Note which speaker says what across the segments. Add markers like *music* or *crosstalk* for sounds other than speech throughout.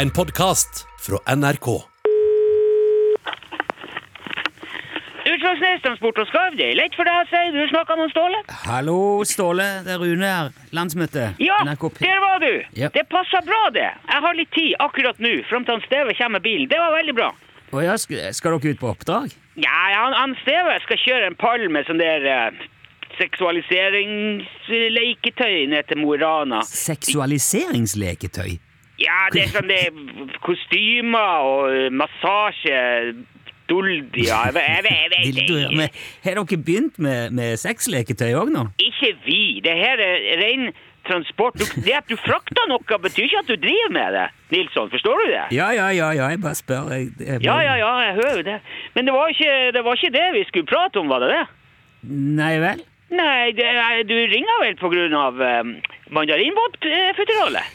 Speaker 1: En podkast fra NRK.
Speaker 2: Utslagsnes Transport og Skarv, det er lett for deg å si. Du snakka med Ståle?
Speaker 3: Hallo, Ståle. Det er Rune her. Landsmøte.
Speaker 2: Ja,
Speaker 3: NRK P-
Speaker 2: der var du!
Speaker 3: Ja.
Speaker 2: Det passa bra, det. Jeg har litt tid akkurat nå, fram til han Steve kommer med bilen. Det var veldig bra.
Speaker 3: Å ja, skal, skal dere ut på oppdrag?
Speaker 2: Ja, han, han Steve skal kjøre en pall med sånn der eh, seksualiseringsleiketøy ned til Mo i Rana.
Speaker 3: Seksualiseringsleketøy?
Speaker 2: Ja, det er sånn det er kostymer og eh, massasje Doldia Jeg vet- jeg vet- jeg
Speaker 3: Dildoer.
Speaker 2: vet
Speaker 3: Men Har dere begynt med, med sexleketøy òg nå?
Speaker 2: Ikke vi. Det her er ren transport. Du, det at du frakter noe, betyr ikke at du driver med det, Nilsson. Forstår du det?
Speaker 3: Ja, ja, ja, ja, jeg bare spør. Jeg, jeg,
Speaker 2: Ja, ja, ja, jeg hører jo det. Men det var ikke det, var ikke det vi skulle prate om, var det det?
Speaker 3: Nei vel?
Speaker 2: Nei, det, er- du ringer vel på grunn av um, mandarinbåtføderalet?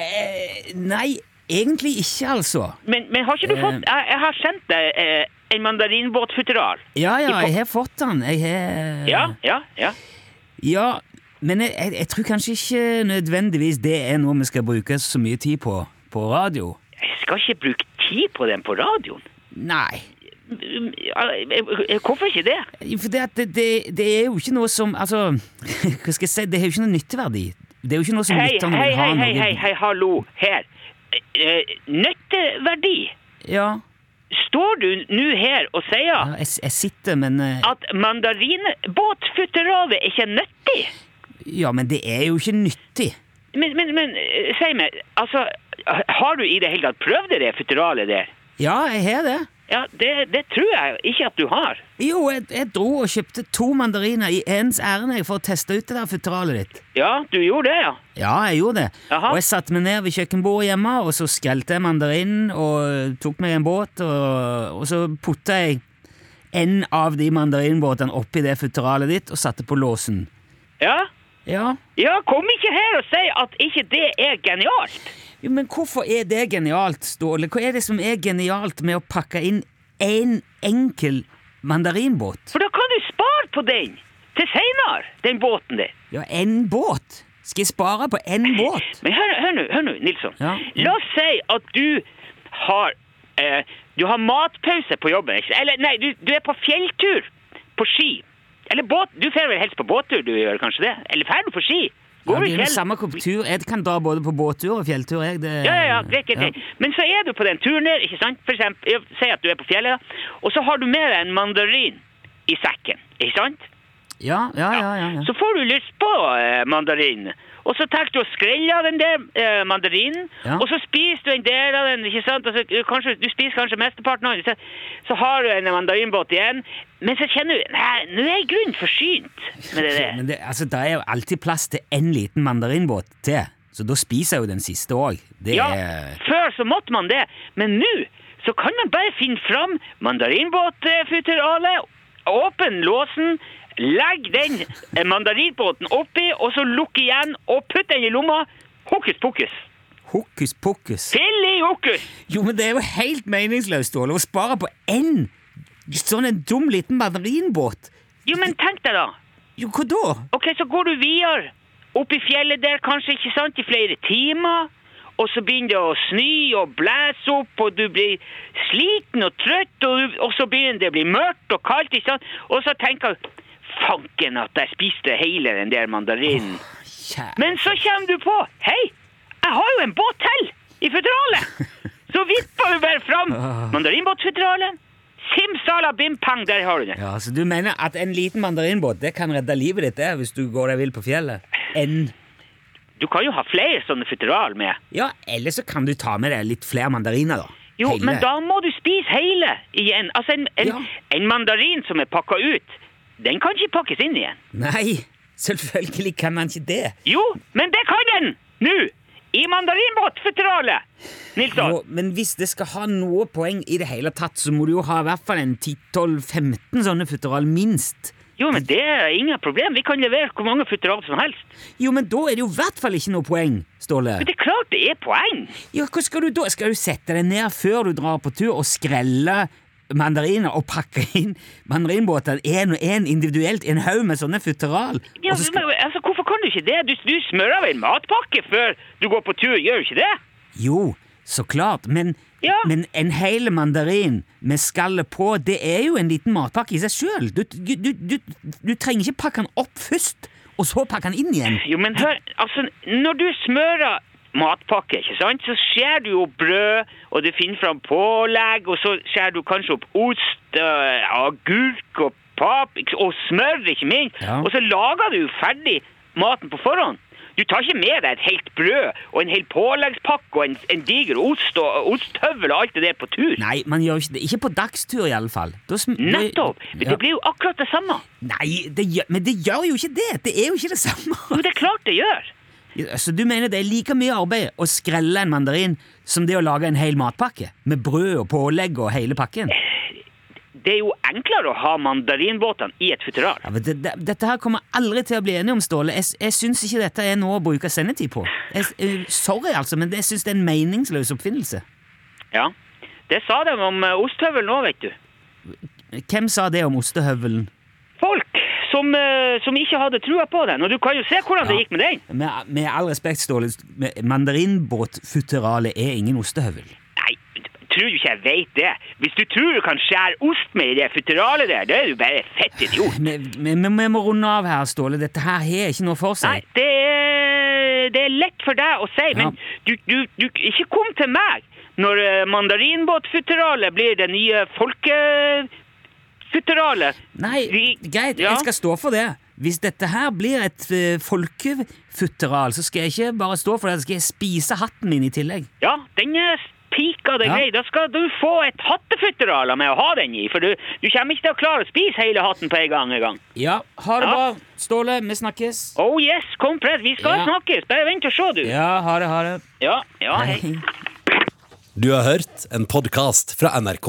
Speaker 3: Eh, nei, egentlig ikke, altså.
Speaker 2: Men, men har ikke du
Speaker 3: Eh.
Speaker 2: fått Jeg, jeg har sendt deg eh, en mandarinbåtføderal.
Speaker 3: Ja, ja,
Speaker 2: I på-
Speaker 3: jeg har fått den. Jeg har
Speaker 2: Ja, ja, ja.
Speaker 3: ja. Men jeg, jeg, jeg tror kanskje ikke nødvendigvis det er noe vi skal bruke så mye tid på på radio.
Speaker 2: Jeg skal ikke bruke tid på den på radioen.
Speaker 3: Nei.
Speaker 2: Mm, eh, Hvorfor ikke det?
Speaker 3: For det, at det, det, det er jo ikke noe som Altså, *laughs* hva skal jeg si? Det har jo ikke noe nytteverdi. Det er jo ikke noe som
Speaker 2: Hei,
Speaker 3: lytterne
Speaker 2: hei,
Speaker 3: vil ha.
Speaker 2: hei, hei,
Speaker 3: noe-
Speaker 2: hei, hei, hallo, her. Eh, eh, Nytteverdi.
Speaker 3: Ja,
Speaker 2: Står du nå her og
Speaker 3: ja
Speaker 2: sier
Speaker 3: jeg, jeg sitter, men eh,
Speaker 2: at mandarinbåtføderalet ikke er nyttig?
Speaker 3: Ja, men det er jo ikke nyttig.
Speaker 2: Men, men, men eh, si meg, altså, har du i det hele tatt prøvd det futuralet der?
Speaker 3: Ja, jeg har det.
Speaker 2: Ja, det, det tror jeg ikke at du har.
Speaker 3: Jo, jeg, jeg dro og kjøpte to mandariner i ens ærend jeg, for å teste ut det der futteralet ditt.
Speaker 2: Ja, du gjorde det, ja.
Speaker 3: Ja, jeg gjorde det.
Speaker 2: Jaha.
Speaker 3: Og jeg satte meg ned ved kjøkkenbordet hjemme, og så skrelte jeg mandarinen og tok meg en båt, og, og så putta jeg en av de mandarinbåtene oppi det futteralet ditt og satte på låsen.
Speaker 2: Ja,
Speaker 3: Ja,
Speaker 2: ja kom ikke her og si at ikke det er genialt.
Speaker 3: jo, Men hvorfor er det genialt, Ståle? Hva er det som er genialt med å pakke inn én en enkel mandarinbåt?
Speaker 2: For da kan du spare på den til senere, den båten der.
Speaker 3: Ja, én båt? Skal jeg spare på én båt?
Speaker 2: Men hør, hør nå, hør nå, Nilsson.
Speaker 3: Ja.
Speaker 2: La oss si at du har, eh, du har matpause på jobben. Ikke? Eller nei, du, du er på fjelltur på ski. Eller båt. Du fer vel helst på båttur, du gjør kanskje det? Eller fer du på ski?
Speaker 3: Ja,
Speaker 2: Går du
Speaker 3: det
Speaker 2: i
Speaker 3: er jo
Speaker 2: fjell?
Speaker 3: samme hvor på tur. Jeg kan dra både på båttur og fjelltur. Jeg. Det,
Speaker 2: Ja, ja, ja, greit, greit, greit. Men så er du på den turen der, ikke sant? For eksempel, ja, si at du er på fjellet, da. og så har du med deg en mandarin i sekken, ikke sant?
Speaker 3: Ja, ja, ja, ja, ja.
Speaker 2: Så får du lyst på eh, mandarin. Og så tar du og skreller av den der eh, mandarinen,
Speaker 3: Ja.
Speaker 2: og så spiser du en del av den, ikke sant? Altså, du- kanskje, du spiser kanskje mesteparten av den, så, så har du en mandarinbåt igjen, men så kjenner du, nei, nå er jeg i grunnen forsynt med det
Speaker 3: *laughs*
Speaker 2: der.
Speaker 3: Men det, altså, der er jo alltid plass til en liten mandarinbåt til, så da spiser jeg jo den siste òg. Det
Speaker 2: Ja,
Speaker 3: er
Speaker 2: før så måtte man det, men nå så kan man bare finne fram mandarinbåtfuteralet, åpne låsen, legge den eh, mandarinbåten oppi, og så lukke igjen og putte den i lomma. Hokus pokus.
Speaker 3: hokus pokus.
Speaker 2: Filli hokus!
Speaker 3: Jo, men det er jo helt meningsløst, Ståle, å spare på én sånn en dum liten mandarinbåt.
Speaker 2: Jo, men tenk deg da.
Speaker 3: Jo, hva da?
Speaker 2: Ok, så går du videre opp i fjellet der, kanskje, ikke sant, i flere timer. Og så begynner det å snø og blæse opp, og du blir sliten og trøtt, og, du, og så begynner det å bli mørkt og kaldt, ikke sant. Og så tenker du, fanken at jeg spiste hele den der mandarinen.
Speaker 3: Kjære
Speaker 2: Men så kommer du på, hei, jeg har jo en båt til i futuralet. Så vipper du bare fram mandarinbåtfuturalen. Simsalabim-pang, der har du den.
Speaker 3: Ja, Så du mener at en liten mandarinbåt det kan redde livet ditt det, hvis du går deg vill på fjellet? En
Speaker 2: Du kan jo ha flere sånne futural med.
Speaker 3: Ja, eller så kan du ta med deg litt flere mandariner, da.
Speaker 2: Jo,
Speaker 3: Hele.
Speaker 2: men da må du spise hele igjen. Altså, en, en,
Speaker 3: Ja.
Speaker 2: en mandarin som er pakka ut, den kan ikke pakkes inn igjen.
Speaker 3: Nei, selvfølgelig kan man ikke det.
Speaker 2: Jo, men det kan den! Nå! I mandarinbåtføderalet! Nilsson.
Speaker 3: Jo, men hvis det skal ha noe poeng i det hele tatt, så må du jo ha i hvert fall en 10-12-15 sånne futteral, minst.
Speaker 2: Jo, men det er ingen problem. Vi kan levere hvor mange futteral som helst.
Speaker 3: Jo, men da er det jo i hvert fall ikke noe poeng, Ståle.
Speaker 2: Men det er klart det er poeng!
Speaker 3: Ja, hva skal du da? Skal du sette deg ned før du drar på tur og skrelle mandariner og pakke inn mandarinbåter én og én individuelt i en haug med sånne futteral?
Speaker 2: Ja,
Speaker 3: Og så skal...
Speaker 2: men, altså, hvorfor kan du ikke det? Du, du smører av en matpakke før du går på tur, gjør du ikke det?
Speaker 3: Jo, Så klart. Men,
Speaker 2: Ja.
Speaker 3: men en hel mandarin med skallet på, det er jo en liten matpakke i seg sjøl. Du, du, du, du, du trenger ikke pakke den opp først, og så pakke den inn igjen.
Speaker 2: Jo, men hør, altså, når du smører matpakke, ikke sant, så skjærer du jo brød, og du finner fram pålegg, og så skjærer du kanskje opp ost, øh, agurk og pap, ikke- og smør, ikke minst,
Speaker 3: Ja.
Speaker 2: og så lager du jo ferdig maten på forhånd. Du tar ikke med deg et helt brød, og en hel påleggspakke, og en, en diger ost, og osthøvel og alt det der på tur.
Speaker 3: Nei, man gjør jo ikke det. Ikke på dagstur, iallfall.
Speaker 2: Nettopp! Men
Speaker 3: Ja.
Speaker 2: det blir jo akkurat det samme.
Speaker 3: Nei, det gjør, men det gjør jo ikke det! Det er jo ikke det samme.
Speaker 2: Jo, det er klart det gjør.
Speaker 3: Så altså, du mener det er like mye arbeid å skrelle en mandarin som det å lage en hel matpakke? Med brød og pålegg og hele pakken?
Speaker 2: Det er jo enklere å ha mandarinbåtene i et futteral.
Speaker 3: Ja, men det, det, dette her kommer jeg aldri til å bli enige om, Ståle. Jeg, s- jeg syns ikke dette er noe å bruke sendetid på. Jeg, s- eh, sorry, altså, men jeg syns det er en meningsløs oppfinnelse.
Speaker 2: Ja, det sa de om eh, osthøvel nå, vet du.
Speaker 3: Hvem sa det om ostehøvelen?
Speaker 2: Folk som, eh, som ikke hadde trua på den, og du kan jo se hvordan det
Speaker 3: Ja.
Speaker 2: gikk med den.
Speaker 3: Med, med all respekt, Ståle, med- mandarinbåtfutteralet er ingen ostehøvel.
Speaker 2: Nei, tror du ikke jeg veit det? Hvis du tror du kan skjære ost med i det futteralet der, da er du bare fett idiot.
Speaker 3: Vi vi- vi må runde av her, Ståle. Dette her har ikke noe for
Speaker 2: Nei,
Speaker 3: seg.
Speaker 2: det er, det er lett for deg å si, men du, du, du ikke kom til meg når eh, mandarinbåtfutteralet blir det nye folkefutteralet.
Speaker 3: Nei,
Speaker 2: Vi-
Speaker 3: greit,
Speaker 2: ja.
Speaker 3: jeg skal stå for det. Hvis dette her blir et eh, folkefutteral, så skal jeg ikke bare stå for det, så skal jeg spise hatten min i tillegg.
Speaker 2: Ja, den er pika det
Speaker 3: Ja.
Speaker 2: grei. Da skal du få et hattefutteral av meg å ha den i, for du, du kommer ikke til å klare å spise hele hatten på en gang. En gang.
Speaker 3: Ja, ha det
Speaker 2: Ja.
Speaker 3: bra, Ståle. Vi snakkes.
Speaker 2: Oh yes, kom press, vi skal
Speaker 3: Ja.
Speaker 2: snakkes. Bare vent og se, du. Ja,
Speaker 3: Ja, ha det, ha det.
Speaker 2: ja, hei.
Speaker 1: Du har hørt en podcast fra NRK.